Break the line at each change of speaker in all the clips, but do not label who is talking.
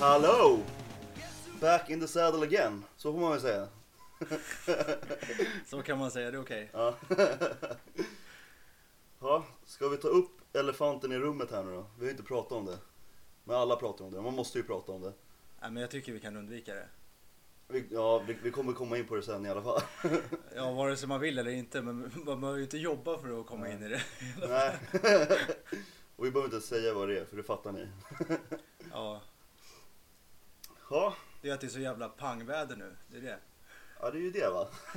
Hallå! Back in the saddle again, så får man väl säga.
Så kan man säga, det är okej.
Ja. ja, ska vi ta upp elefanten i rummet här nu då? Vi har ju inte pratat om det. Men alla pratar om det, man måste ju prata om det.
Nej, men jag tycker vi kan undvika det.
Vi, ja, vi, vi kommer komma in på det sen i alla fall.
Ja, vare sig man vill eller inte, men man behöver ju inte jobba för att komma in i det.
Nej. Och vi behöver inte säga vad det är, för det fattar ni.
Ja,
Ja,
det är att det är så jävla pangväder nu. Det är det.
ja det är ju det va.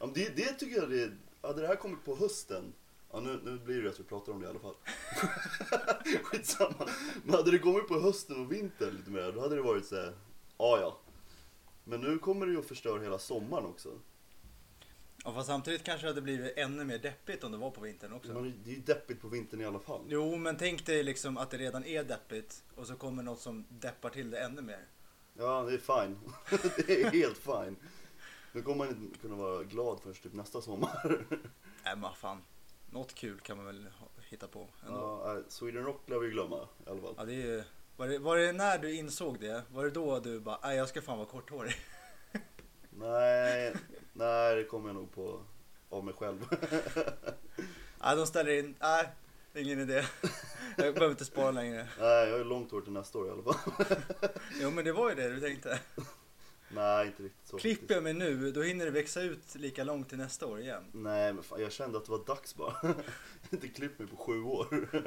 ja, men det, det tycker jag det är, hade det här kommit på hösten, ja nu, nu blir det ju att vi pratar om det i alla fall. Skitsamma. Men hade det kommit på hösten och vintern lite mer, då hade det varit så här, ja ja. Men nu kommer det ju att förstöra hela sommaren också.
Ja, fast samtidigt kanske det hade blivit ännu mer deppigt om det var på vintern också.
Men det är ju deppigt på vintern i alla fall.
Jo, men tänk dig liksom att det redan är deppigt och så kommer något som deppar till det ännu mer.
Ja, det är fine. det är helt fine. Nu kommer man inte kunna vara glad först typ nästa sommar.
Nej, men vad fan. Något kul kan man väl ha- hitta på ändå.
Ja, nej, Sweden Rock lär vi glömma i alla fall.
Ja, det är ju... Var det, var det när du insåg det? Var det då du bara, nej jag ska fan vara korthårig?
Nej, nej, det kommer jag nog på av mig själv.
Nej, de ställer in. Nej, ingen idé. Jag behöver inte spara längre.
nej, jag har långt hår till nästa år i alla fall.
Jo, men det var ju det du tänkte.
nej, inte riktigt så.
Klipper
faktiskt.
jag mig nu, då hinner det växa ut lika långt till nästa år igen.
Nej, men fan, jag kände att det var dags bara. jag har inte klippt mig på sju år.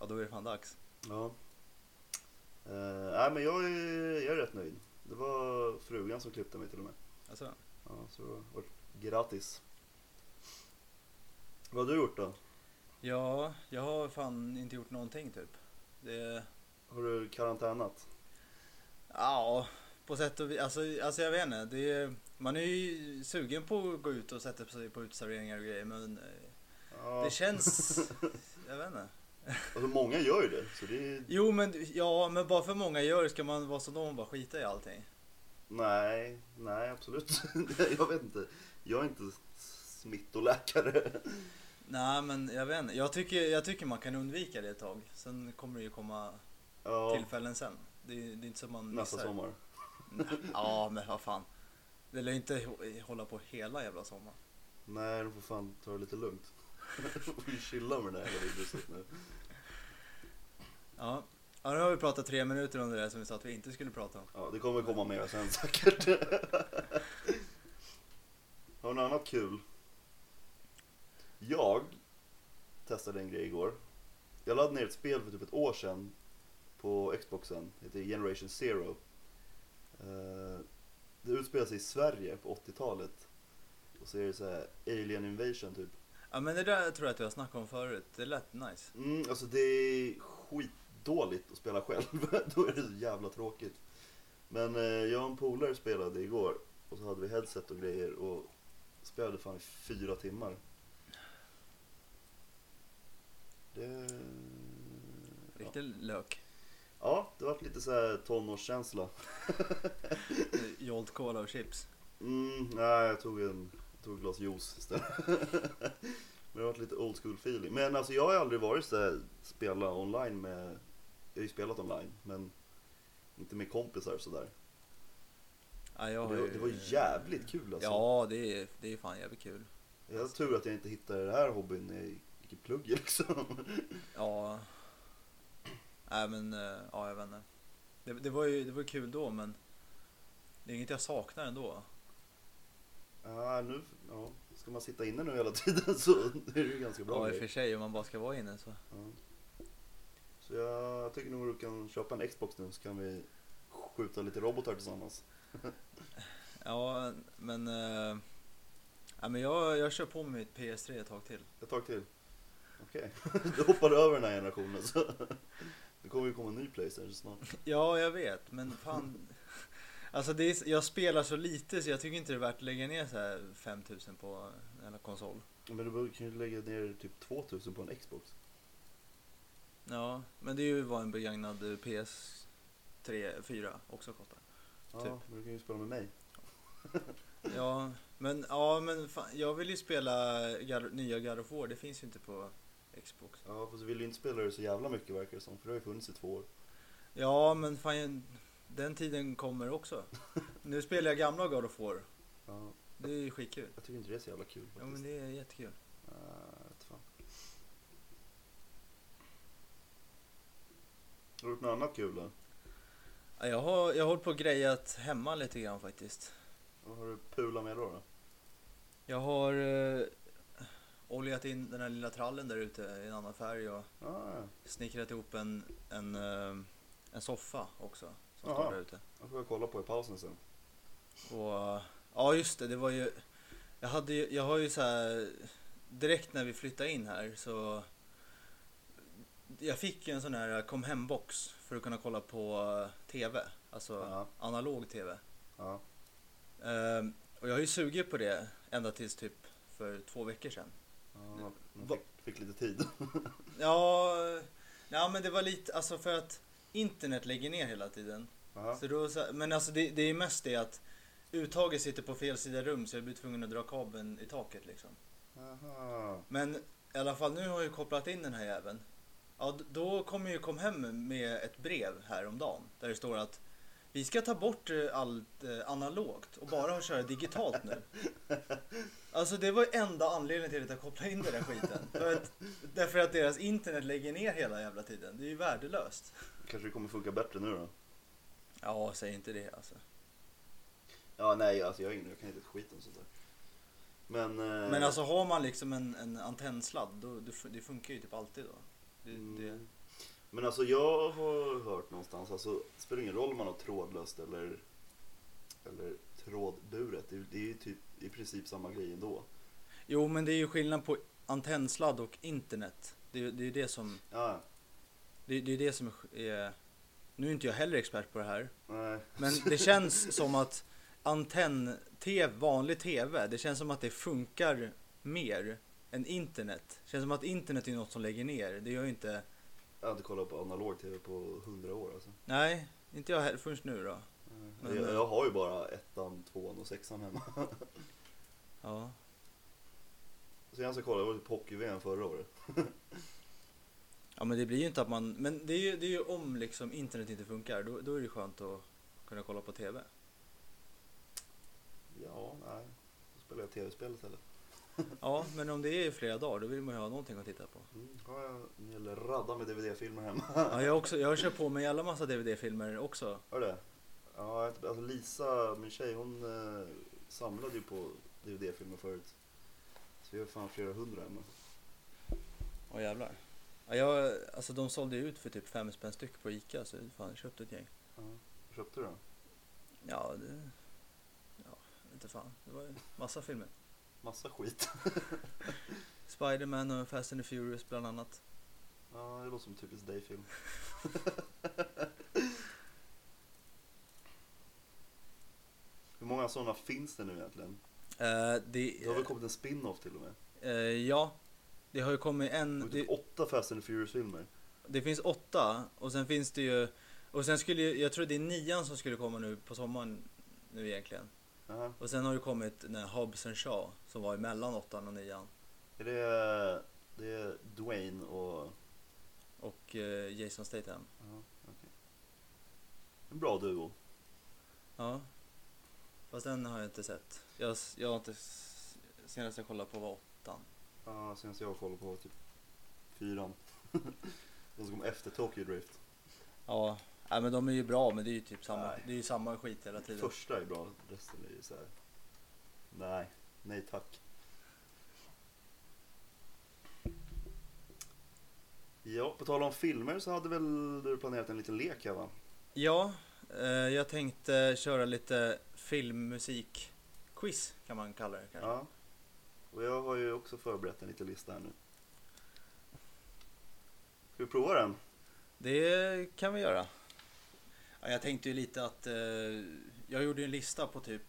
Ja, då är det fan dags.
ja. Eh, nej, men jag är, jag är rätt nöjd. Det var frugan som klippte mig till och med.
Alltså,
Ja, så det var grattis. Vad har du gjort då?
ja, jag har fan inte gjort någonting typ. Det,
Har du karantänat?
ja, på sätt och vis. Alltså, alltså jag vet inte. Det, man är ju sugen på att gå ut och sätta sig på uteserveringar och grejer, men eh,
Ja,
det känns... Jag vet inte.
alltså, många gör ju det. Så det är...
Jo, men ja, men bara för många gör det ska man vara som dem och bara skita i allting.
Nej, nej absolut. jag vet inte. Jag är inte smittoläkare.
Nej men jag vet inte. Jag tycker, jag tycker man kan undvika det ett tag. Sen kommer det ju komma
Ja,
tillfällen sen. Det, är- det är inte så man
nästa
missar.
sommar.
Nej, Ja men vad fan. Det lär ju inte hå- hålla på hela jävla sommaren.
Nej, de får fan ta det lite lugnt. De får ju chilla med den här jävla viruset nu.
Ja. ja, nu har vi pratat tre minuter om det där som vi sa att vi inte skulle prata om.
Ja, det kommer komma mer sen säkert. Har du något annat kul? Jag testade en grej igår. Jag laddade ner ett spel för typ ett år sedan på Xboxen. Det heter Generation Zero. Eh, Det utspelar sig i Sverige på 80-talet. Och så är det så här Alien Invasion typ.
Ja men det där tror jag att vi har snackat om förut. Det lät nice.
Mm, alltså det är skitdåligt att spela själv. Då är det så jävla tråkigt. Men eh, jag och en polare spelade igår och så hade vi headset och grejer och spelade fan i fyra timmar. Det...
Riktig lök.
Ja, det vart lite så här tonårskänsla.
Jolt Cola och chips.
Mm, nej, jag tog en jag tog ett glas juice istället. Men det har varit lite old school feeling. Men alltså jag har aldrig varit så här, spela online med, jag har ju spelat online, men inte med kompisar och sådär.
Ja, jag har
Det, var-
ju-
det var jävligt kul alltså.
Ja det är, det är fan jävligt kul.
Jag har tur att jag inte hittade den här hobbyn när jag gick i typ plugget liksom.
Ja. Nej men, eh, ja jag vet inte. Det, det var ju det var kul då men det är inget jag saknar ändå.
Ja, nu, ja, ska man sitta inne nu hela tiden så är det ju ganska bra
Ja i och
grej.
för sig om man bara ska vara inne så.
Ja. Så jag, jag tycker nog du kan köpa en Xbox nu så kan vi skjuta lite robotar tillsammans.
Ja men, eh, ja, men jag, jag kör på med mitt PS3 ett tag till.
Ett tag till? Okej, du hoppar över den här generationen så. Det kommer ju komma en ny Playstation snart.
Ja jag vet men fan. Alltså det är, jag spelar så lite så jag tycker inte det är värt att lägga ner så här 5000 på en jävla konsol.
Men du kan ju lägga ner typ 2000 på en Xbox.
Ja men det är ju vad en begagnad eh, PS3, 4 också kostar.
Ja,
Typ.
men du kan ju spela med mig.
Ja, men, ja, men fan, jag vill ju spela Gar- nya God of War. Det finns ju inte på Xbox.
Ja, fast du vill ju inte spela det så jävla mycket verkar det som, för det har ju funnits i två år.
Ja, men fan, den tiden kommer också. Nu spelar jag gamla God of War.
Ja,
Det är ju skitkul.
jag tycker inte det är så jävla kul
Ja, men
faktiskt.
det är jättekul.
Eh, vet fan. Har du gjort något annat kul då?
Ja, Jag har, jag har hållit på och grejat hemma lite grann faktiskt.
Vad har du pulat med då? då?
Jag har eh, oljat in den här lilla trallen där ute i en annan färg och
Ah, ja.
snickrat ihop en, en, eh, en soffa också som
Jaha.
står där ute.
Jag får jag kolla på i pausen sen.
Och, ja just det, det var ju Jag, hade ju, jag har ju så här Direkt när vi flyttade in här så Jag fick ju en sån här kom hem box för att kunna kolla på TV Alltså
Ja.
analog TV
Ja.
Ehm, Och jag har ju sugit på det ända tills typ för två veckor sedan
Ja, man
Va-
fick, fick lite tid.
Ja, ja men det var lite, alltså för att internet lägger ner hela tiden
Aha.
Så då, så- men alltså det, det är mest det att uttaget sitter på fel sida rum så jag blir tvungen att dra kabeln i taket liksom.
Aha.
Men i alla fall nu har jag ju kopplat in den här jäveln. Ja, d- då kommer ju kom hem med ett brev häromdagen där det står att vi ska ta bort eh, allt eh, analogt och bara köra digitalt nu. Alltså det var ju enda anledningen till att jag kopplade in den där skiten. För att, därför att deras internet lägger ner hela jävla tiden. Det är ju värdelöst.
Kanske det kommer funka bättre nu då?
Ja, säg inte det alltså.
Ja, nej, alltså jag, har ingen, jag kan inte ett skit om sånt där. Men, eh,
Men alltså har man liksom en, en antennsladd, då, det, fun- det funkar ju typ alltid då. Det, det,
Mm. men alltså jag har hört någonstans, alltså det spelar ingen roll om man har trådlöst eller, eller trådburet. Det, är- det är ju typ i princip samma grej ändå.
jo men det är ju skillnad på antennsladd och internet. Det, det är ju det som,
Ja,
det, det är det som är... Nu är inte jag heller expert på det här,
nej.
men det känns som att antenn-tv, vanlig tv, det känns som att det funkar mer än internet. Det känns som att internet är något som lägger ner, det gör ju inte...
Jag har inte kollat på analog tv på hundra år alltså.
Nej, inte jag heller förrän nu då. Men,
jag,
eh,
jag har ju bara ettan, tvåan och sexan hemma.
Ja.
Så jag ska kolla, det var typ hockey-VM förra året.
Ja men det blir ju inte att man, men det är ju, det är ju om liksom internet inte funkar, då, då är det skönt att kunna kolla på TV.
Ja, nej. Då spelar jag tv-spel istället.
Ja, men om det är i flera dagar, då vill man ju ha någonting att titta på.
Mm, har jag en hel radda med DVD-filmer hemma.
Ja, jag, har också, jag har köpt på mig alla massa DVD-filmer också.
Har du det? Ja, jag- alltså Lisa, min tjej, hon eh, samlade ju på DVD-filmer förut. Så vi har fan flera hundra hemma.
Åh jävlar. Ja, jag, alltså de sålde ju ut för typ fem spänn styck på Ica, så fan, jag köpte ett gäng.
Ja. Köpte du den?
Ja, det... Ja, inte fan. Det var ju massa filmer.
Massa skit.
Spider-Man och Fast and the Furious bland annat.
Ja, det låter som en typisk dig-film. Hur många sådana finns det nu egentligen?
Eh, det...
Det har väl kommit en spin-off till och med?
eh, ja. Det har ju kommit
Det
en...
var
det-
typ åtta Fast and the Furious-filmer.
Det finns åtta och sen finns det ju och sen skulle ju- jag tror det är nian som skulle komma nu på sommaren nu egentligen.
Jaha.
Och sen har det kommit den här Hobbs and Shaw som var emellan åttan och nian
Är det, det är Dwayne och...
och eh, Jason Statham.
Ja, okej. En bra duo.
Ja. Fast den har jag inte sett. Jag, s- jag har inte s- senast jag kollade på var åttan.
Ja, senast jag kollade på var typ fyran. De som kom efter Tokyo Drift.
Ja, nej, men de är ju bra men det är ju typ samma.
Nej.
Det är ju samma skit hela tiden.
Första är bra, resten är ju så här. Nej, nej tack. Ja, på tal om filmer så hade väl du planerat en liten lek här va?
Ja, eh, jag tänkte köra lite filmmusik quiz kan man kalla det kanske.
Ja. Och jag har ju också förberett en liten lista här nu. Ska vi prova den?
Det kan vi göra. Ja, jag tänkte ju lite att eh, jag gjorde ju en lista på typ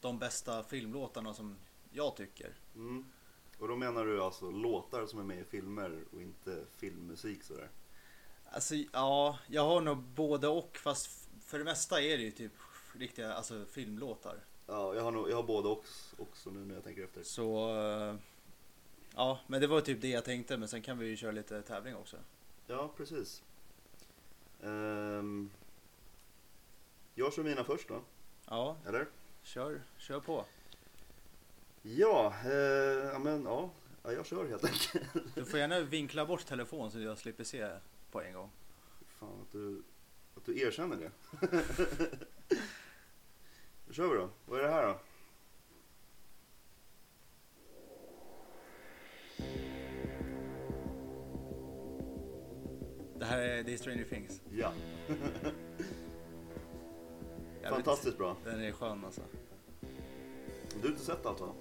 de bästa filmlåtarna som jag tycker.
Mm. Och då menar du alltså låtar som är med i filmer och inte filmmusik sådär?
Alltså ja, jag har nog både och fast f- för det mesta är det ju typ riktiga alltså, filmlåtar.
Ja, jag har, nog, jag har båda också, också nu när jag tänker efter.
Så eh, ja, men det var typ det jag tänkte men sen kan vi ju köra lite tävling också.
Ja, precis. Ehm, jag kör mina först då,
Ja,
eller?
kör, kör på.
Ja, eh, ja men ja. ja, jag kör helt enkelt.
Du får gärna vinkla bort telefon så jag slipper se på en gång.
Fan att du, att du erkänner det. Då kör vi då. Vad är det här då?
Det här är, det är Stranger Things.
Ja,
Jag vet
fantastiskt bra.
inte. Den är skön alltså.
Du har inte sett allt va?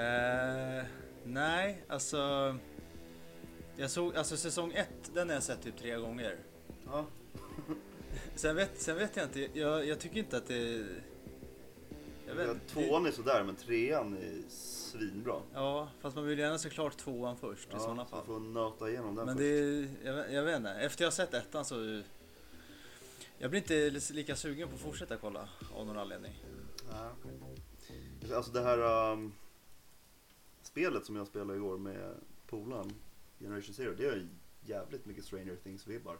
Eh, nej, alltså. Jag såg, alltså säsong ett, den har jag sett typ tre gånger.
Ja.
Sen vet, sen vet jag inte, jag, jag tycker inte att det... Jag vet inte.
Tvåan är sådär men trean är svinbra.
Ja, fast man vill gärna såklart tvåan först i sådana
så
fall.
jag får nöta igenom den
Men
först.
det är, jag, vet- jag vet inte, efter jag har sett ettan så... Jag blir inte li- lika sugen på att fortsätta kolla av någon anledning.
Ja, okej. Alltså det här ehm, spelet som jag spelade igår med polaren, Generation Zero, det är jävligt mycket Stranger Things-vibbar.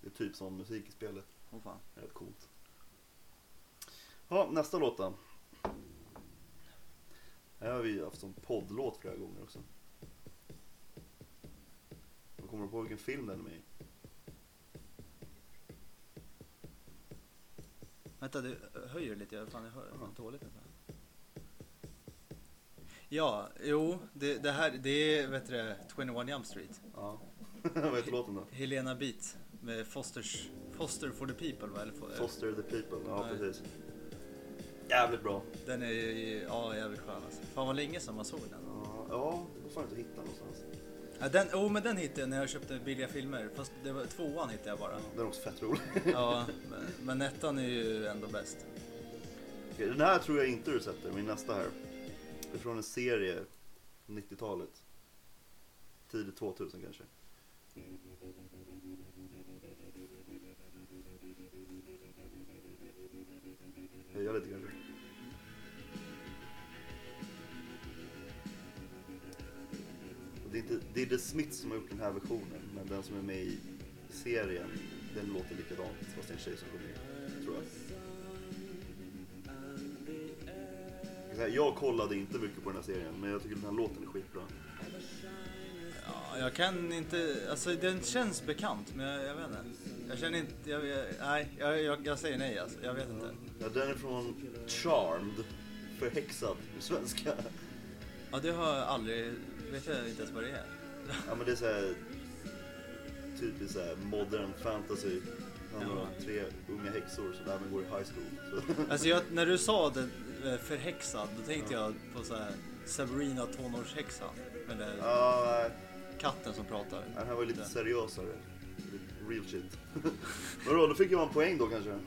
Det är typ som musik i spelet,
Åh fan.
Det är rätt coolt. Ja, nästa låt då. Här har vi ju haft som poddlåt flera gånger också. Jag kommer du på vilken film den är med i?
Vänta, du höjer lite. Jag, fan, jag hör
Ja.
dåligt. Vänta. Ja, jo, det, det här det är vet du, det, 21 Jump Street.
Ja, vad heter låten då?
Helena Beat med Fosters, Foster for the People. va? Eller, fo- eh,
Foster the People, ja
Nej.
precis. Jävligt bra.
den är ja, jävligt skön alltså. Fan vad länge sedan man såg den.
Ja, Ja, då får jag inte hitta någonstans.
Ja, den, oh, men den hittade jag när jag köpte billiga filmer. Fast det var, tvåan hittade jag bara.
Den är också fett rolig.
Ja, men, men ettan är ju ändå bäst.
Okej, Den här tror jag inte du sätter, min nästa här. Det är från en serie från 90-talet. Tidigt 2000 kanske. Höja lite kanske. Och Det är, inte, det är The Smiths som har gjort den här versionen, men den som är med i serien, den låter likadant fast det är en tjej som sjunger, tror jag. Jag kan säga, Jag kollade inte mycket på den här serien, men jag tycker den här låten är skitbra.
Ja, jag kan inte, alltså den känns bekant men jag, jag vet inte. Jag känner inte, jag, jag, nej, jag, jag, jag säger nej alltså. Jag vet inte.
Ja, den är från Charmed, Förhäxad på svenska.
Ja, det har jag aldrig, vet jag inte ens vad det är.
Ja men det är såhär, typiskt såhär modern fantasy. Det handlar om
Ja.
tre unga häxor som även går i high school. Så,
Alltså jag, när du sa det, eh, förhäxad, då tänkte jag på så här Sabrina tonårshäxan. Med den där
ja, nej.
katten som pratar.
den här var ju lite seriösare. Lite Real shit. Vadå, då fick jag en poäng då kanske.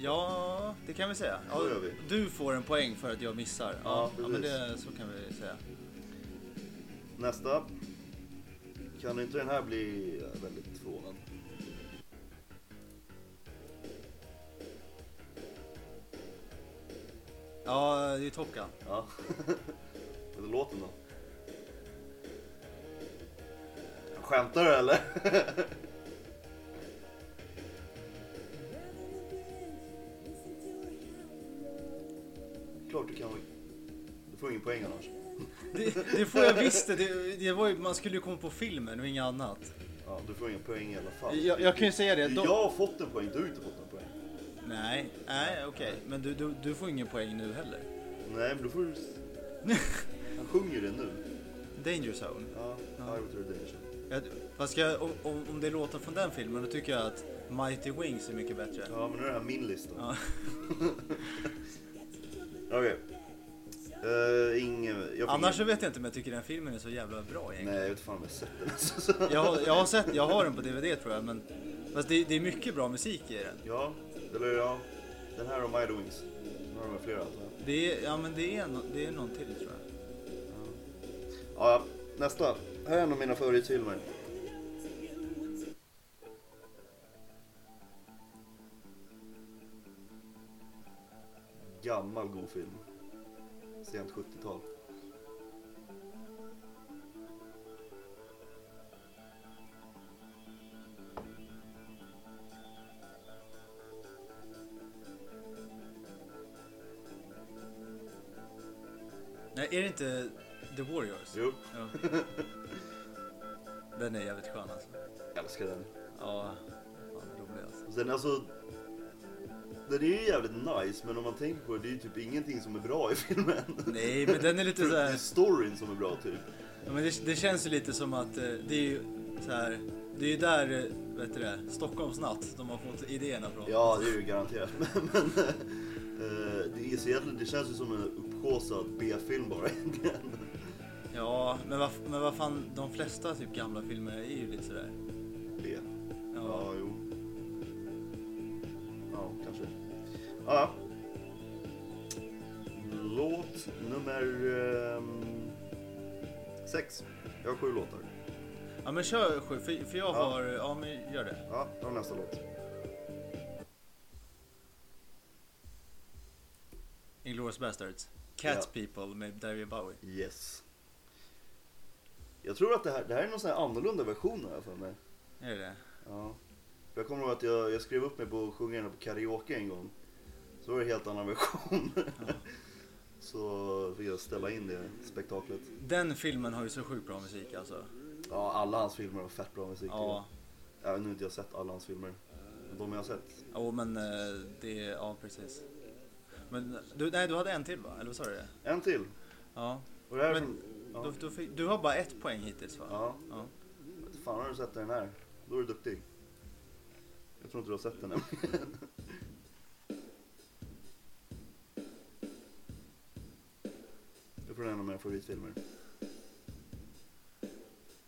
Ja, det kan vi säga. Ja,
Så gör vi.
du får en poäng för att jag missar.
Ja,
ja men
precis.
det, så kan vi säga.
Nästa. Kan inte den här bli eh, väldigt förvånad?
Ja, det är Top Gun.
Ja. Vad är låten då? Skämtar du eller? Klart du kan. Du får ingen poäng annars.
Det, det får jag visst det. det. det var ju, man skulle ju komma på filmen och inget annat.
Ja, du får ingen poäng i alla fall.
Jag, jag kan ju säga det.
Jag
De...
har fått en poäng, du har inte fått en poäng.
Nej, nej okej. Men du, du, du får ingen poäng nu heller.
Nej, men då får du... Han sjunger det nu.
Danger Zone.
Ja,
Ja.
I would do the Nation.
Jag, vad ska jag, om- om, om det är låtar från den filmen då tycker jag att Mighty Wings är mycket bättre.
Ja, men nu är det här min lista.
Ja.
Okej. Eh, ingen... jag fick
Annars så
ingen...
vet jag inte om jag tycker den filmen är så jävla bra
Nej,
egentligen.
jag vet fan om jag har sett den. alltså.
Jag, har- jag, har sett, jag har den på DVD tror jag men fast det, det är mycket bra musik i den.
Ja, eller ja. Den här och My Wings. Nu har de flera antar jag.
Det är, ja, men det är, no, det är någon till tror jag.
Ja, ja. nästa. Här är en av mina favoritfilmer. Gammal god film. Sent 70-tal.
är det inte The Warriors?
Jo,
Ja. Den är jävligt skön alltså.
jag älskar den.
Ja, fan vad rolig alltså.
Och sen alltså, den är ju jävligt nice men om man tänker på det, det är ju typ ingenting som är bra i filmen.
Nej, men den är lite
Det
så
är
här...
storyn som är bra typ.
Ja, men det, det känns ju lite som att eh, det är ju så här... Det är ju där, eh, vet du det, Stockholmsnatt de har fått idéerna från.
Ja, det är ju garanterat. Men, men eh, det, är så jävla, det känns ju som en upphaussad B-film bara egentligen.
Ja, men vad men vad fan, de flesta typ gamla filmer är ju lite sådär.
B.
Ja.
Ja, jo. Ja, kanske. Ja, ja. Låt nummer ehm, sex. Jag har sju låtar.
ja, men kör sju, för, för jag
Ja.
har, ja men gör det.
Ja, då har vi nästa låt.
Inglourious Basterds. Cat
Ja.
People med David Bowie.
Yes. Jag tror att det här, det här är någon sån här annorlunda version har jag för mig.
Är det det?
Ja. För Jag kommer ihåg att jag, jag skrev upp mig på att sjunga den på karaoke en gång. Så var det en helt annan version. Så fick jag ställa in det spektaklet.
Den filmen har ju så sjukt bra musik alltså.
Ja, alla hans filmer har fett bra musik.
Ja,
Även om jag inte har sett alla hans filmer. Men De jag har sett.
jo men eh, det, ja precis. Men du, nej du hade en till va? Eller vad sa du? det?
En till.
Ja.
Och det här
Men-
som...
Du,
Ja.
du, fick- du har bara ett poäng hittills va?
ja.
Ja.
Fan har du sett den här? Då är du duktig. Jag tror inte du har sett den än. Jag tror det är en av mina favoritfilmer.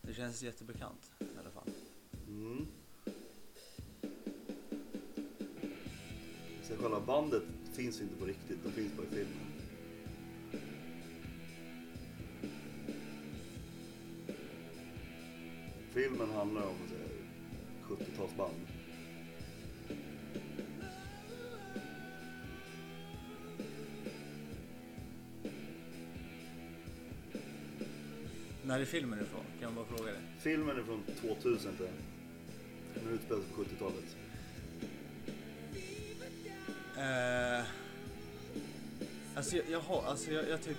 Det känns jättebekant i alla fall.
Mm. Så själva bandet finns inte på riktigt, de finns bara i filmen. Filmen handlar om så här, 70-talsband.
När är filmen ifrån? Kan jag bara fråga det?
Filmen är från 2000 tror jag. Den utspelar sig på 70-talet.
Eh, alltså jag, jag har, alltså jag, jag typ...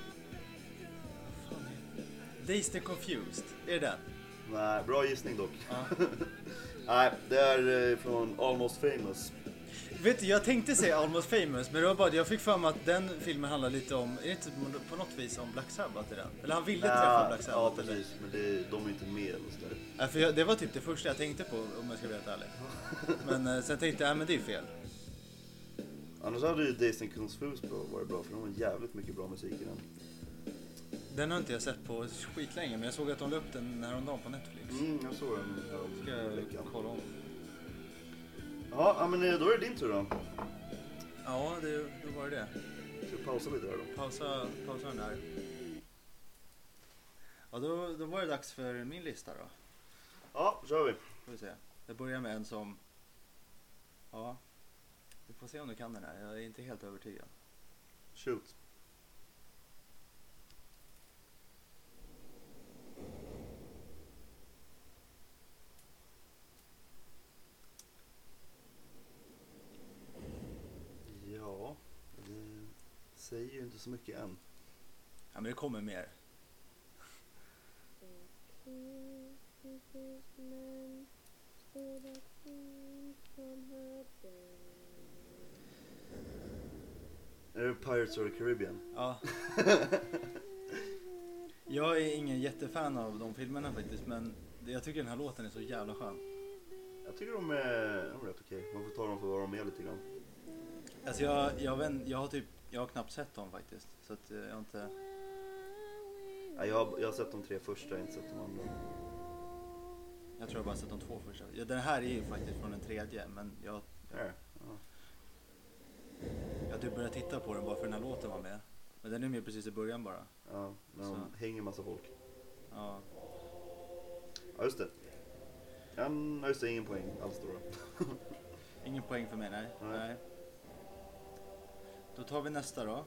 Vad fan är det? Days the Confused, är det den?
Nej, bra gissning dock.
Ja.
Nej, det är eh, från Almost famous.
Vet du, jag tänkte säga Almost famous, men det var bara det, jag fick för mig att den filmen handlar lite om, är det inte på- på något vis om Black Sabbath i den? Eller han ville träffa Black
ja,
Sabbath? eller?
precis. Men det, de är inte med eller så där.
Ja, för jag, det var typ det första jag tänkte på om jag ska vara helt ärlig. Men eh, sen tänkte jag, nej men det är fel.
Annars hade ju Days and Confused bra- varit bra för de har jävligt mycket bra musik i den.
Den har inte jag sett på skitlänge, men jag såg att de la upp den häromdagen på Netflix.
Mm, jag såg den
Ska jag
häromveckan.
kolla om?
Ja, ja, men eh, då är det din tur då.
Ja, det, då var det det.
Ska vi pausa lite här då?
Pausa, pausa den där. Ja, då, då var det dags för min lista då.
Ja, då kör vi.
Får vi se. Jag börjar med en som... Ja. Vi får se om du kan den här. Jag är inte helt övertygad.
Shoot. Ja, det säger ju inte så mycket än.
Ja, men det kommer mer.
Men stora ting som hörde
Är det Pirates of the Caribbean?
Ja. Jag är ingen jättefan av de filmerna faktiskt, men jag tycker den här låten är så jävla skön.
Jag tycker de är, de är rätt okej. Man får ta dem för vad de är lite grann.
Alltså jag, jag, vet, jag har typ, jag har knappt sett dem faktiskt. Så att eh, jag har inte...
Ja, jag, har, jag har sett de tre första, jag har inte sett de andra.
Jag tror jag bara sett de två första. Ja, den här är ju faktiskt från den tredje, men jag,
Där. Ja.
jag typ började titta på den bara för den här låten var med. Men den är med precis i början bara.
Ja, när de
Så.
hänger massa folk.
Ja.
Ja, just det. En, ja, just det, ingen poäng alls då. då.
Ingen poäng för mig, nej.
Nej.
nej. Då tar vi nästa då.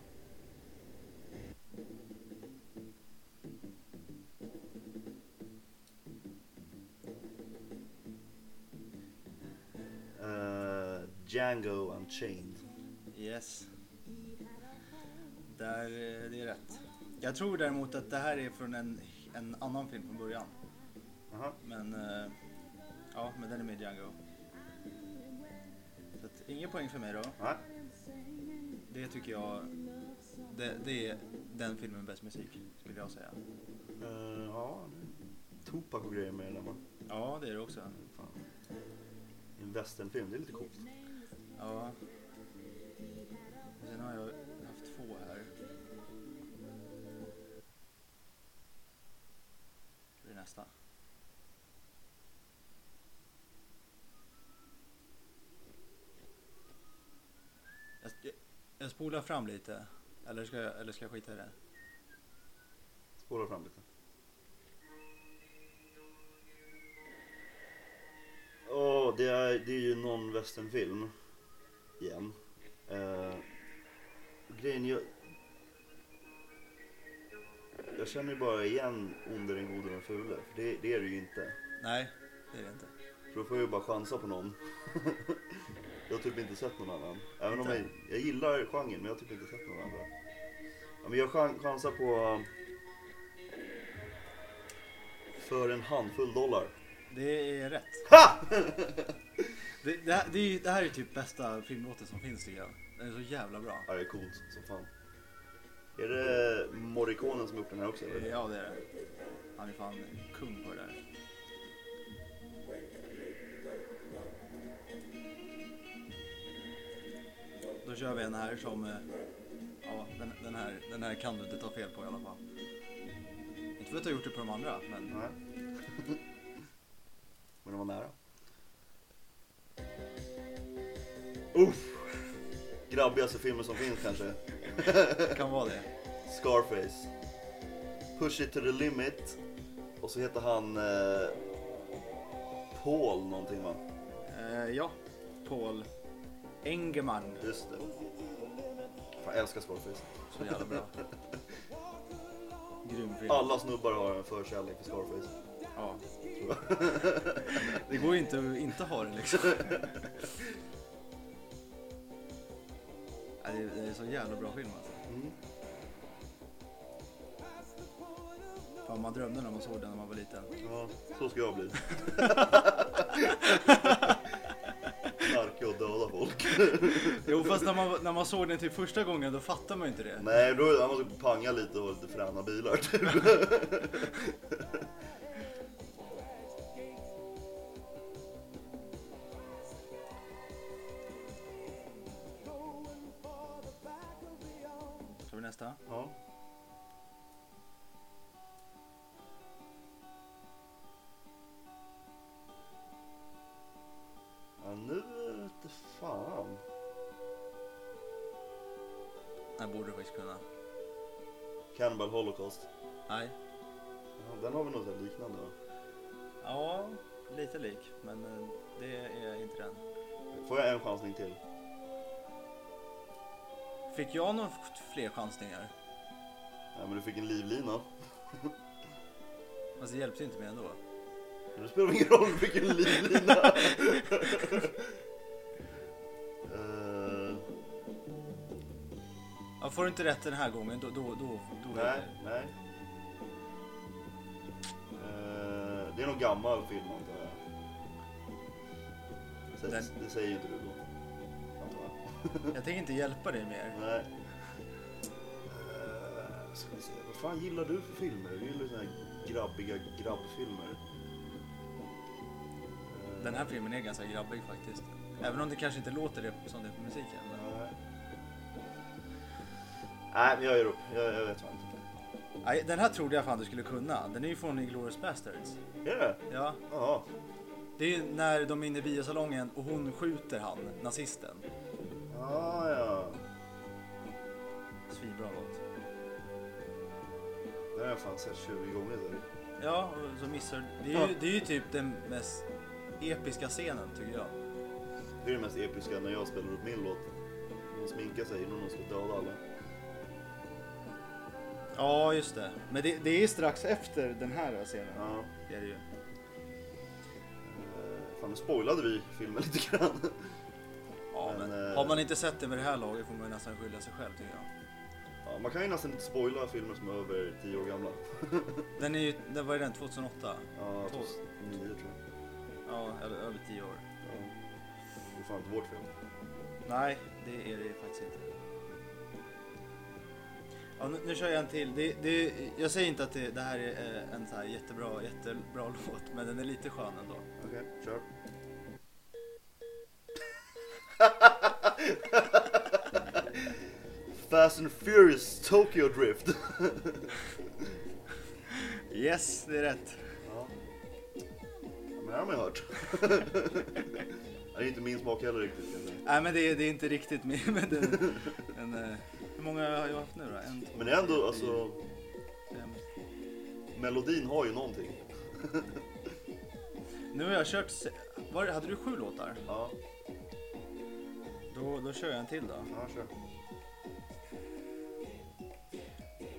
Eh, Django Unchained.
Yes. Där, eh, det är rätt. Jag tror däremot att det här är från en, en annan film från början.
Aha.
Men eh, ja, men den är med i Django. Så att, inga poäng för mig då.
Nej.
Det tycker jag, det, det är den filmen med bäst musik skulle jag säga.
Eh, ja, det är Tupac och grejer med den där va?
Ja, det är det också.
Fan. En westernfilm, det är lite coolt.
Ja. Sen har jag haft två här. Det är nästa. Jag, jag, jag spolar fram lite. Eller ska jag, eller ska jag skita i det?
Spola fram lite. Åh, det, är, det är ju någon westernfilm. Igen. Eh, grejen jag... Jag känner ju bara igen Onde, den gode, den fule. För det, det är det ju inte.
Nej, det är det inte.
För då får jag ju bara chansa på någon. jag har typ inte sett någon annan. Även om
Inte?
jag, jag gillar genren men jag har typ inte sett någon annan. Ja, men jag chan- chansar på... um, För en handfull dollar.
Det är rätt. det, det, här, det, är, ju- det här är typ bästa filmlåten som finns tycker jag. Den är så jävla bra.
Ja, det är coolt som fan. Är det Morricone som har gjort den här också eller?
Eh, Ja, det är det. Han är fan kung på det där. Då kör vi en här som... eh, Ja, den, den, här, den här kan du inte ta fel på i alla fall. Inte för att jag har gjort det på de andra, men...
Nej. men de var nära. Uff! Grabbigaste filmen som finns kanske.
Det kan vara det.
Scarface. Push it to the limit. Och så heter han eh, Paul någonting va?
Eh, ja, Paul Engeman.
Just det. Fan, jag älskar Scarface.
Så jävla bra. Grym film.
Alla snubbar har en förkärlek för Scarface.
Ja. Det går ju inte att inte ha det liksom. Ja, det, är, det är så jävla bra film alltså.
Mm.
Fan, man drömde när man såg den när man var liten.
Ja, så ska jag bli. Knarka och döda folk.
Jo fast när man, när man såg den till första gången då fattar man ju inte det.
Nej, då han måste panga lite och ha lite fräna bilar typ.
Kör vi nästa?
Ja. Ja, nu vete fan.
Den borde du faktiskt kunna.
Cannibal Holocaust.
Nej.
Ja, den har vi nog sett liknande va?
Ja, lite lik. Men eh, det är inte den.
Får jag en chansning till?
Fick jag några fler chansningar?
Nej men du fick en livlina.
Fast Alltså, det hjälpte ju inte mig ändå.
Men det spelar ingen roll, du fick en livlina. Eh,
Ja, får du inte rätt den här gången då... då, då, då
nej, nej. Eh, det är någon gammal film antar jag. Det säger-
Den-
Det säger ju inte du då. Antar jag.
Jag tänker inte hjälpa dig mer.
Nej. Eh, Ska vi se. Vad fan gillar du för filmer? Du gillar ju såna här grabbiga grabbfilmer. Eh,
Den här filmen är ganska grabbig faktiskt. Även om det kanske inte låter det som det är på musiken. Men...
Nej. Nej, men jag ger upp. Jag, jag vet fan
Nej, den här trodde jag fan du skulle kunna. Den är ju från Inglourious Basterds.
Är det?
Ja.
Jaha.
Det är ju när de är inne i biosalongen och hon skjuter han, nazisten.
Ah, ja.
Svinbra låt.
Den har jag fan sett 20 gånger. Så.
Ja, och så missar det är, ju, det är ju typ den mest episka scenen tycker jag.
Det är det mest episka när jag spelar upp min låt. Hon sminkar sig innan hon ska döda alla.
Ja, just det. Men det, det är strax efter den här scenen.
Ja.
Det är det ju.
Eh, Fan, nu spoilade vi filmen lite grann.
Ja, men,
Men, eh,
har man inte sett det med det här laget får man ju nästan skylla sig själv tycker jag.
Ja, man kan ju nästan inte spoila filmer som är över 10 år gamla.
Den är ju, den var ju den 2008?
Ja,
Tolv.
2009 tror jag.
Ja, eller över 10 år.
Ja. Det är fan inte vårt fel.
Nej, det är det faktiskt inte. Ja, nu, nu kör jag en till. Det, det, jag säger inte att det, det här är eh, en så här jättebra, jättebra låt, men den är lite skön ändå.
Okej, kör. Fast and Furious Tokyo Drift.
Yes, det är rätt.
Ja. Men det här har man ju hört. det är inte min smak heller riktigt. kan jag säga.
Nej, men det, är- det är inte riktigt med, med den, den, eh, Hur många har jag haft nu då? En, två,
Men det är
tre,
ändå,
fyra,
alltså,
fem.
melodin har ju någonting.
Nu har jag kört... se- Var, hade du sju låtar?
Ja,
Då, då kör jag en till då.
ja kör.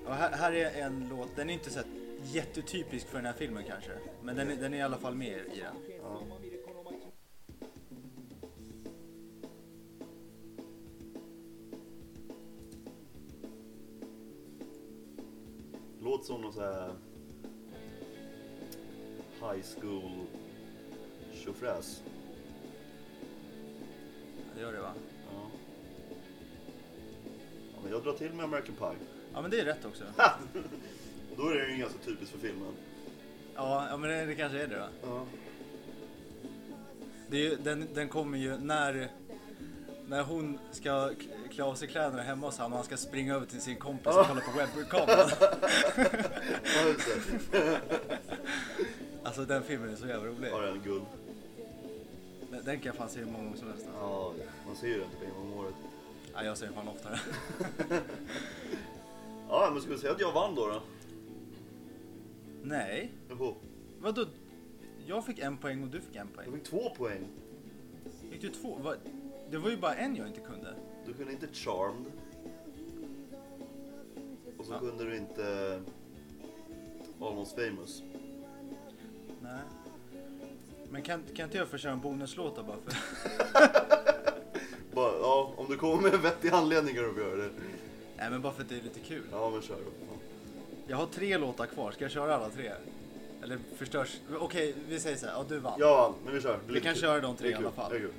Ja, här, här är en låt, den är inte så här jättetypisk för den här filmen kanske. Men den, är- den är i alla fall med i den.
Ja. Låter som någon så här high school tjofräs.
Det gör det va?
Ja. Ja, men jag drar till med American Pie.
Ja men det är rätt också.
Och då är det ju ganska typiskt för filmen.
Ja, ja men det, det kanske är det då.
Ja.
Det är, ju- den, den kommer ju när, när hon ska k- klä av sig kläderna hemma hos honom och han ska springa över till sin kompis och kolla på webbkameran.
just det.
Alltså den filmen är så jävla rolig.
Har en guld.
Den, den kan jag fan se hur många gånger som helst. alltså.
Ja, man ser ju den typ en gång om året.
Ja, jag ser den fan oftare.
Ja, men skulle du säga att jag vann då? då?
Nej,
Joho.
vadå? Jag fick en poäng och du fick en poäng.
Jag fick två poäng.
Fick du två? Va? Det var ju bara en jag inte kunde.
Du kunde inte Charmed. Och så
Ja.
kunde du inte Almost famous.
Nej. Men kan, kan inte jag få köra en bonuslåt då bara för...
Bara, ja, om du kommer med en vettig anledning kan du få göra det.
Nej men bara för att det är lite kul.
Ja, men kör då. Ja.
Jag har tre låtar kvar, ska jag köra alla tre? Eller förstörs... Okej, vi säger så här. ja du vann.
Jag vann, men vi kör. Det är
Vi
lite
kan
kul.
köra de
Det är
tre i
kul.
alla fall.
Det är kul.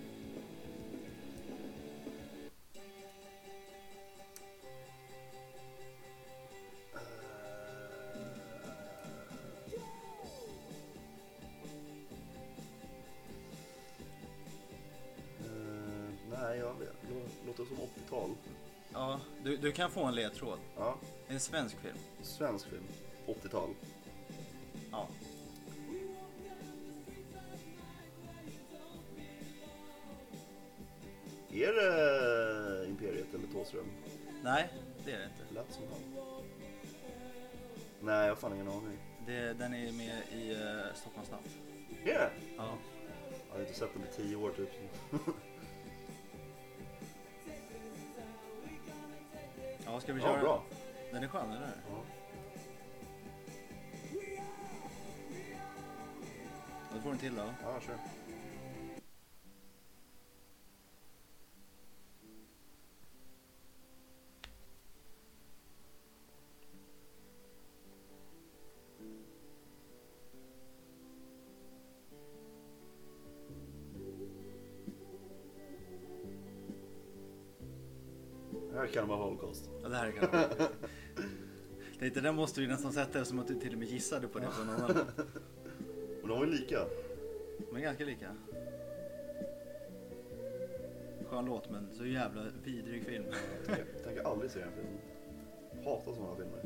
Eh, Nej, jag vet. Det låter som 80-tal.
Ja, du, du kan få en ledtråd.
Ja,
En svensk film.
svensk film. 80-tal.
Ja.
Är det eh, Imperiet eller Thåström?
Nej, det är det inte.
Lät som han. Nej, jag har fan ingen aning.
Det, den är med i uh, Stockholms natt.
Är det?
Ja.
Jag har inte sett den på tio år typ.
ja, ska vi köra
Ja, bra.
den? Den är skön, eller hur?
Ja.
Då får du en till då.
Ja, kör. Det här kan vara Holocaust.
Ja, det här kan jag Tänkte, den måste du ju nästan sätta som att du till och med gissade på det på någon annan.
Men de var ju lika.
De är ganska lika. Skön låt men så jävla vidrig film.
Jag tänker aldrig se den filmen. Hatar sådana filmer.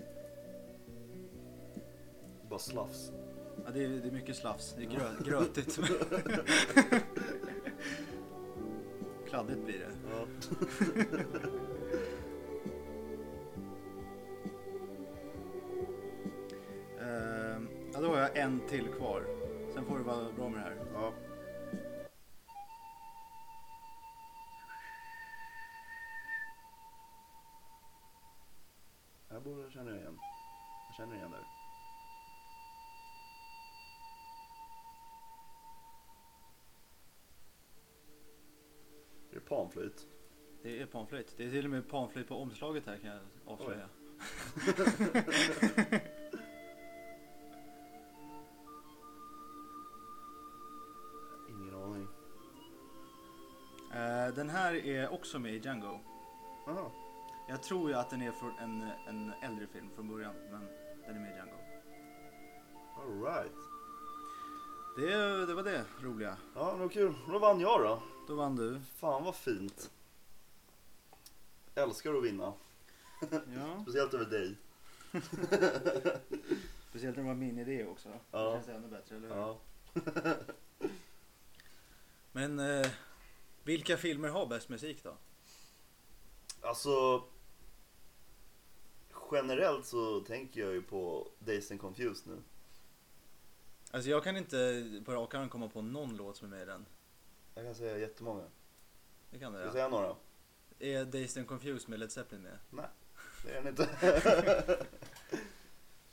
Bara slafs.
Ja, det, är, det är mycket slafs, det är grö, grötigt. men- Kladdigt blir det.
Ja.
Ehm, ja, då har jag en till kvar. Sen får du vara bra med det här.
ja. Här borde jag känna igen. Jag känner igen där. Är det panflöjt?
Det är panflöjt. Det är till och med panflöjt på omslaget här kan jag avslöja.
Ingen aning.
Eh, den här är också med i Django.
Aha.
Jag tror ju att den är från en, en äldre film från början, men den är med i Django.
All right.
Det, det var det roliga.
Ja, men vad kul. Då vann jag då.
Då vann du.
Fan vad fint. Älskar att vinna.
Ja.
Speciellt över dig.
Speciellt när det var min idé också.
Ja.
Det känns ännu bättre, eller hur?
Ja.
Men eh, vilka filmer har bäst musik då?
Alltså. Generellt så tänker jag ju på Days and Confused nu.
Alltså jag kan inte på rak arm komma på någon låt som är med i den.
Jag kan säga jättemånga.
Det kan
Ska jag
du ja.
säga några?
Är Dazed and Confused med Led Zeppelin med?
Det är den inte.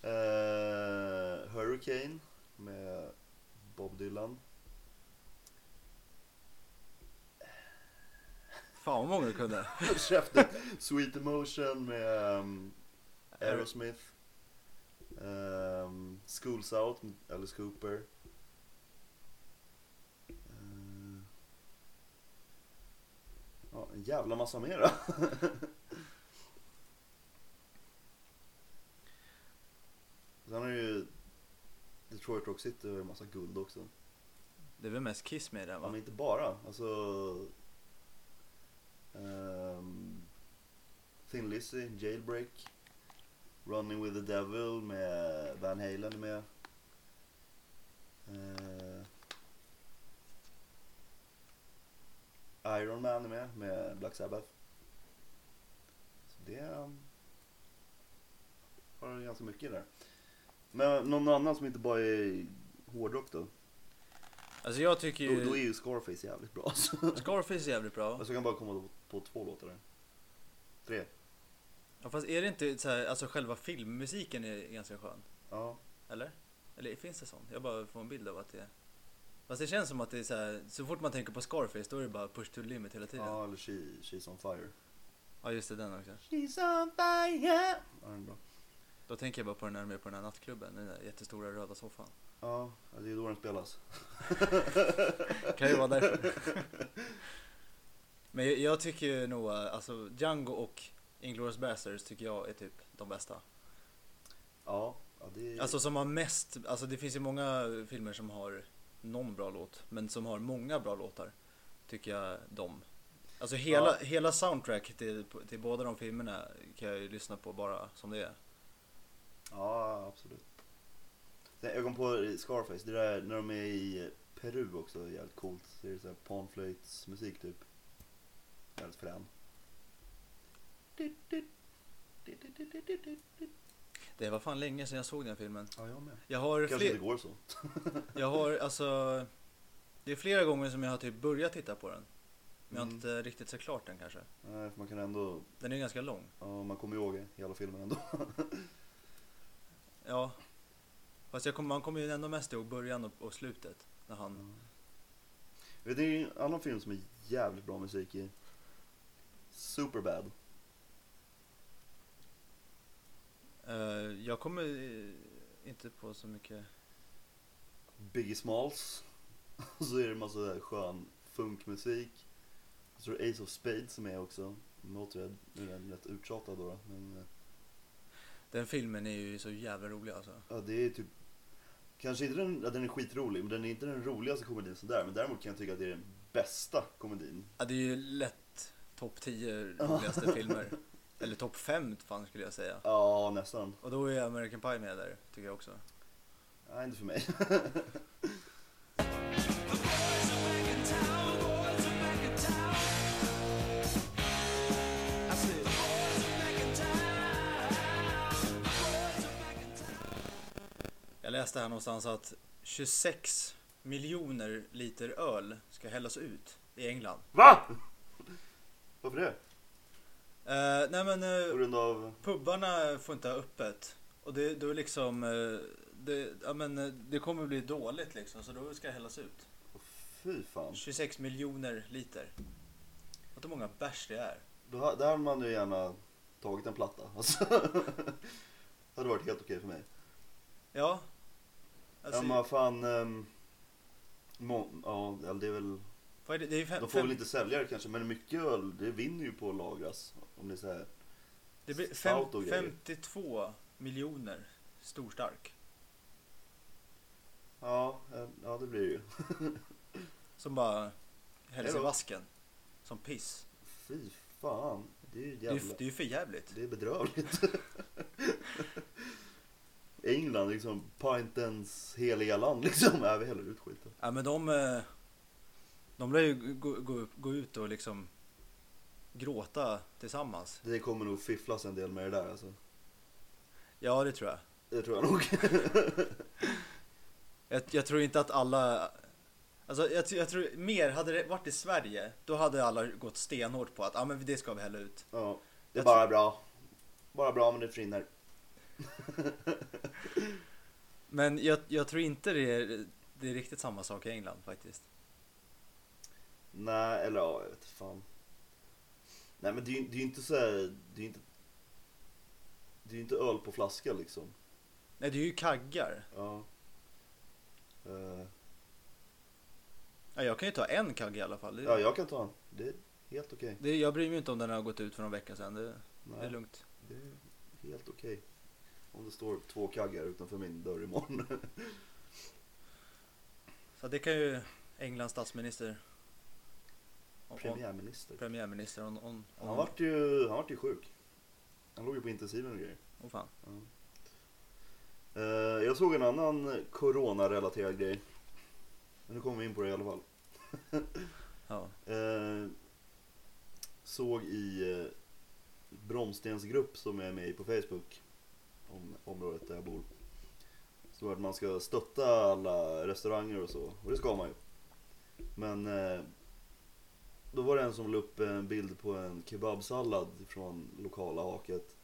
Eh, Hurricane med Bob Dylan.
Fan vad många du kunde.
Käften. Sweet Emotion med ehm, Aerosmith. Ehm, Schools Out med Alice Cooper. Ehm, Ja, en jävla massa mera. Sen har ju Detroit Rock City har ju en massa guld också.
Det är väl mest Kiss med i den
Ja, men
va?
inte bara. Alltså... ehm, Thin Lizzy, Jailbreak, Running with the Devil med Van Halen är med. Eh, Iron Man är med, med Black Sabbath. Så det ehm, har ganska mycket där. Men någon annan som inte bara är hårdrock då?
Alltså jag tycker
Då, då är
ju
ju Scarface jävligt bra alltså.
Scarface är jävligt bra.
Alltså jag kan bara komma på två låtar där. Tre.
Ja, fast är det inte så här, alltså själva filmmusiken är ganska skön?
Ja.
Eller? Eller finns det sånt? Jag bara får en bild av att det är... Fast det känns som att det är så här, så fort man tänker på Scarface då är det bara push to the limit hela tiden. Ja,
Ja, eller she, She's on fire.
just det, den också.
She's on fire! Ja, den är bra.
Då tänker jag bara på den här med på den här nattklubben, den där jättestora röda soffan.
Ja, ja, det är då den spelas.
Kan ju vara därför. Men jag, jag tycker ju nog, eh, alltså Django och Inglourious Basterds tycker jag är typ de bästa.
Ja, ja det är...
Alltså som har mest, alltså det finns ju många filmer som har någon bra låt, men som har många bra låtar. Tycker jag de. Alltså hela,
Ja.
hela soundtrack till, till båda de filmerna kan jag ju lyssna på bara som det är.
Ja, absolut. Sen, jag kom på Scarface, det där när de är i Peru också, är jävligt coolt. Det är såhär panflöjtsmusik typ. Jävligt frän.
Det var fan länge sedan jag såg den filmen.
Ja, jag med.
Jag har,
Kanske inte
fler,
går så.
jag har alltså, det är flera gånger som jag har typ börjat titta på den. Men jag har
Mm.
inte riktigt sett klart den kanske.
Nej, för man kan ändå
Den är ganska lång.
Ja, man kommer ihåg hela filmen ändå.
Ja. Fast jag kommer- man kommer ju ändå mest ihåg början och, och slutet. När han...
Vet ni en annan film som Mm. är jävligt bra musik i? Superbad.
Eh, jag kommer eh, inte på så mycket.
Biggie Smalls. Och så är det en massa där skön funkmusik. Och så är det Ace of Spades som är också. Nu låter jag- nu är den rätt uttjatad då. då, Men eh,
Den filmen är ju så jävla rolig alltså.
ja, det är typ... Kanske inte den, ja, den är skitrolig, men den är inte den roligaste komedin sådär. Men däremot kan jag tycka att det är den bästa komedin.
Ja, det är ju lätt topp 10 roligaste filmer. Eller topp 5 fan skulle jag säga.
Ja, nästan.
Och då är American Pie med där, tycker jag också.
Nej, inte för mig.
Jag läste här någonstans att 26 miljoner liter öl ska hällas ut i England.
Va? Varför det?
Eh, nej men... eh,
På grund av...
Pubbarna får inte ha öppet. Och det, då är liksom, eh, det, ja, men, eh, det kommer bli dåligt liksom så då ska det hällas ut.
Fy fan.
26 miljoner liter. Vet du hur många bärs det är?
Då, ha- där hade man ju gärna tagit en platta. Alltså, det hade varit helt okej för mig.
Ja.
ja,
Alltså,
men vad fan. ehm, må, ja, eller det är väl.
vad är det? Det är ju fem,
De får väl
fem,
inte sälja det kanske, men mycket öl det vinner ju på att lagras. Om det är så här.
det blir fem,
stout och grejer.
52 miljoner storstark.
Ja, eh, ja det blir det ju.
Som bara hälls i
Hejdå.
vasken. Som piss.
Fy fan. Det är ju
Det är,
jävla...
ju- det är ju för jävligt.
Det är bedrövligt. England, liksom pintens heliga land liksom. Nej, vi häller ut skiten.
Ja men de... eh, De lär ju gå, gå, upp- gå ut och liksom gråta tillsammans.
Det kommer nog fifflas en del med det där alltså.
Ja det tror jag.
Det tror jag nog.
Jag, jag tror inte att alla... Alltså jag, tr- jag tror mer, hade det varit i Sverige då hade alla gått stenhårt på att ah, men det ska vi hälla ut.
Ja, det är
Jag
bara bra. Bara bra men det försvinner.
Men jag, jag tror inte det är, det är riktigt samma sak i England faktiskt.
Nej, eller ja, jag vet fan. Nej men det är ju det är ju inte så här, det är ju inte det är ju inte öl på flaska liksom.
Nej det är ju kaggar.
Ja. Eh,
Ja, jag kan ju ta en kagg i alla fall. Det,
ja, jag kan ta en. Det är helt okej.
det, jag bryr mig inte om den har gått ut för någon vecka sedan. Det, det är
Nej,
lugnt.
det är helt okej. Om det står två kaggar utanför min dörr imorgon.
Så det kan ju Englands statsminister. Om, om,
Premiärminister.
premiärminister. Om, om, om,
Han vart ju, han vart ju sjuk. Han låg ju på intensiven och grejer.
Åh, fan.
Eh, jag såg en annan corona-relaterad grej. Men nu kommer vi in på det i alla fall.
Ja.
Eh, såg i eh, Bromstens grupp som jag är med i på Facebook. Om området där jag bor. Så att man ska stötta alla restauranger och så. Och det ska man ju. Men eh, då var det en som la upp en bild på en kebabsallad från lokala haket.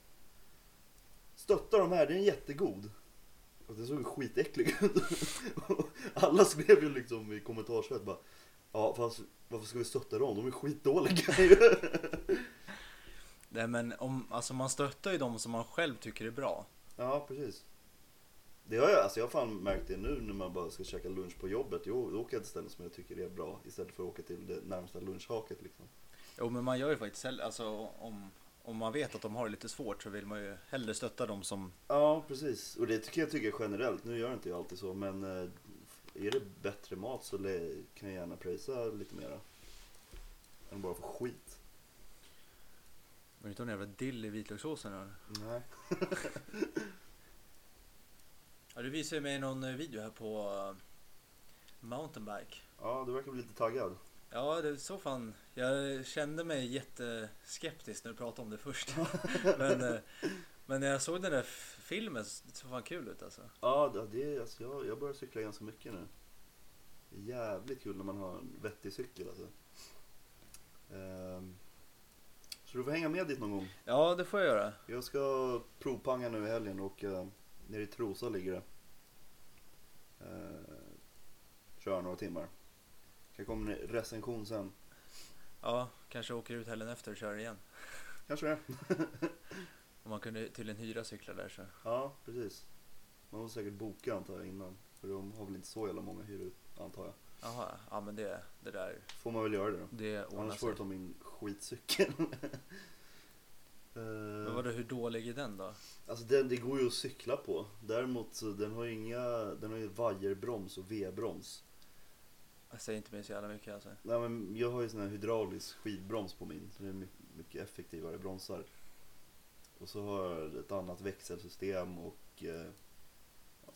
Stötta de här, den är jättegod. Och det såg ju skitäcklig ut. Och alla skrev ju liksom i kommentarsfält bara Ja fast varför ska vi stötta dem? De är skitdåliga ju.
Nej men om, alltså man stöttar ju dem som man själv tycker är bra.
Ja precis. Det har jag, alltså jag har fan märkt det nu när man bara ska käka lunch på jobbet. Jo, då åker jag till ställen som jag tycker är bra istället för att åka till det närmsta lunchhaket liksom.
Jo men man gör ju faktiskt hell- alltså om, om man vet att de har det lite svårt så vill man ju hellre stötta dem som...
Ja precis, och det tycker jag tycker generellt. Nu gör inte jag alltid så men eh, är det bättre mat så le- kan jag gärna prisa lite mera. Än bara få skit.
Men det är inte någon jävla dill i vitlökssåsen eller?
Nej.
Ja du visade ju mig någon eh, video här på eh, mountainbike.
Ja, du verkar bli lite taggad.
Ja det så fan. Jag kände mig jätteskeptisk när du pratade om det först. men, eh, men när jag såg den där f- filmen så det såg fan kul ut alltså.
Ja, det- det är, alltså, jag, jag börjar cykla ganska mycket nu. Det är jävligt kul när man har en vettig cykel alltså. Ehm, så du får hänga med dit någon gång.
Ja det får jag göra.
Jag ska provpanga nu i helgen och uh, nere i Trosa ligger det. Uh, köra några timmar. Kan komma en recension sen.
Ja, kanske åker ut helgen efter och kör igen.
Kanske det.
Om man kunde tydligen hyra cyklar där så.
Ja, precis. Man måste säkert boka antar jag innan. För de har väl inte så jävla många hyr ut antar jag.
Jaha, ja men det, det där,
Får man väl göra det då.
det ordnar
Annars får
sig.
du ta min skitcykel.
Men
uh,
vadå, hur dålig är den då?
alltså den, det går ju att cykla på. Däremot så den har ju inga, den har ju vajerbroms och V-broms.
Jag säger inte mig så jävla mycket alltså.
Nej men jag har ju sån här hydraulisk skivbroms på min. Så det är my- mycket effektivare bromsar. Och så har jag ett annat växelsystem och eh,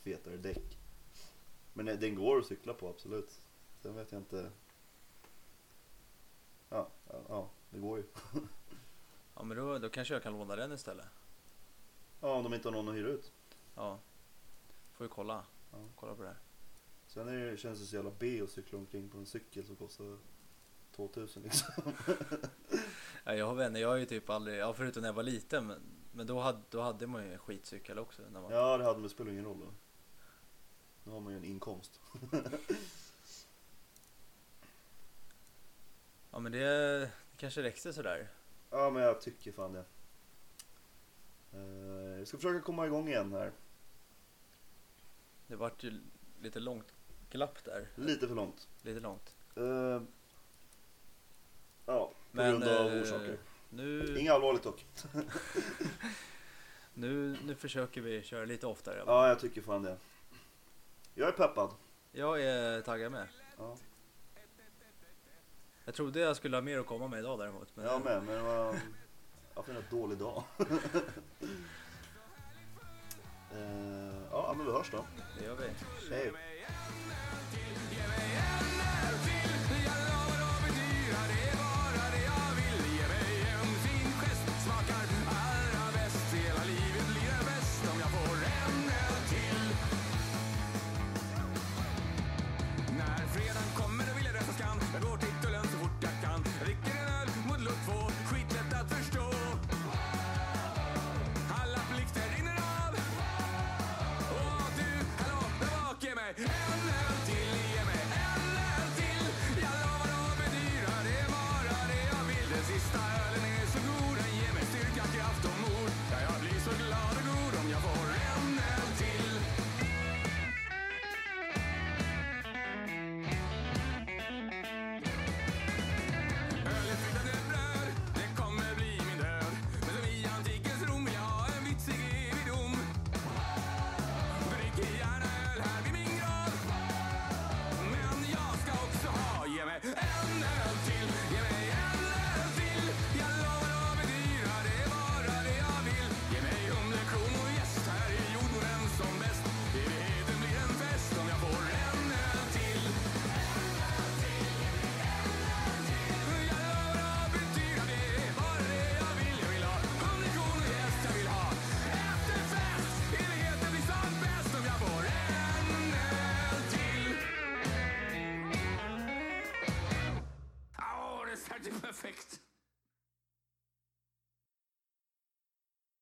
fetare däck. Men eh, den går att cykla på absolut. Sen vet jag inte. Ja, ja, ja det går ju.
Ja men då, då kanske jag kan låna den istället.
Ja, om de inte har någon att hyra ut.
Ja. Får ju kolla.
Ja.
Kolla på det här.
Sen är det, känns det så jävla B att cykla omkring på en cykel som kostar 2000 liksom.
Ja, jag har vänner, jag har ju typ aldrig, ja förutom när jag var liten men, men då, hade, då hade man ju en skitcykel också. När man,
Ja, det hade men det spelar ingen roll då. Nu har man ju en inkomst.
ja men det, det kanske räckte sådär.
Ja, men jag tycker fan det. Eh, Jag ska försöka komma igång igen här.
Det vart ju lite långt glapp där.
Lite för långt.
Lite långt.
Eh, Ja, på
Men,
grund av
eh,
orsaker.
Nu,
Inget allvarligt dock.
nu, nu försöker vi köra lite oftare.
Ja, jag tycker fan det. Jag är peppad.
Jag är taggad med.
Ja,
Jag trodde jag skulle ha mer att komma med idag däremot. Men
jag med, men det var... Jag har en dålig dag. Eh, Ja, men vi hörs då.
det gör vi.
Hej.
När fredagen kommer då vill jag rösta skam Jag går till tullen så fort jag kan Jag dricker en öl mot luft två Skitlätt att förstå Alla plikter rinner av Åh du, hallå, där bak är mig typ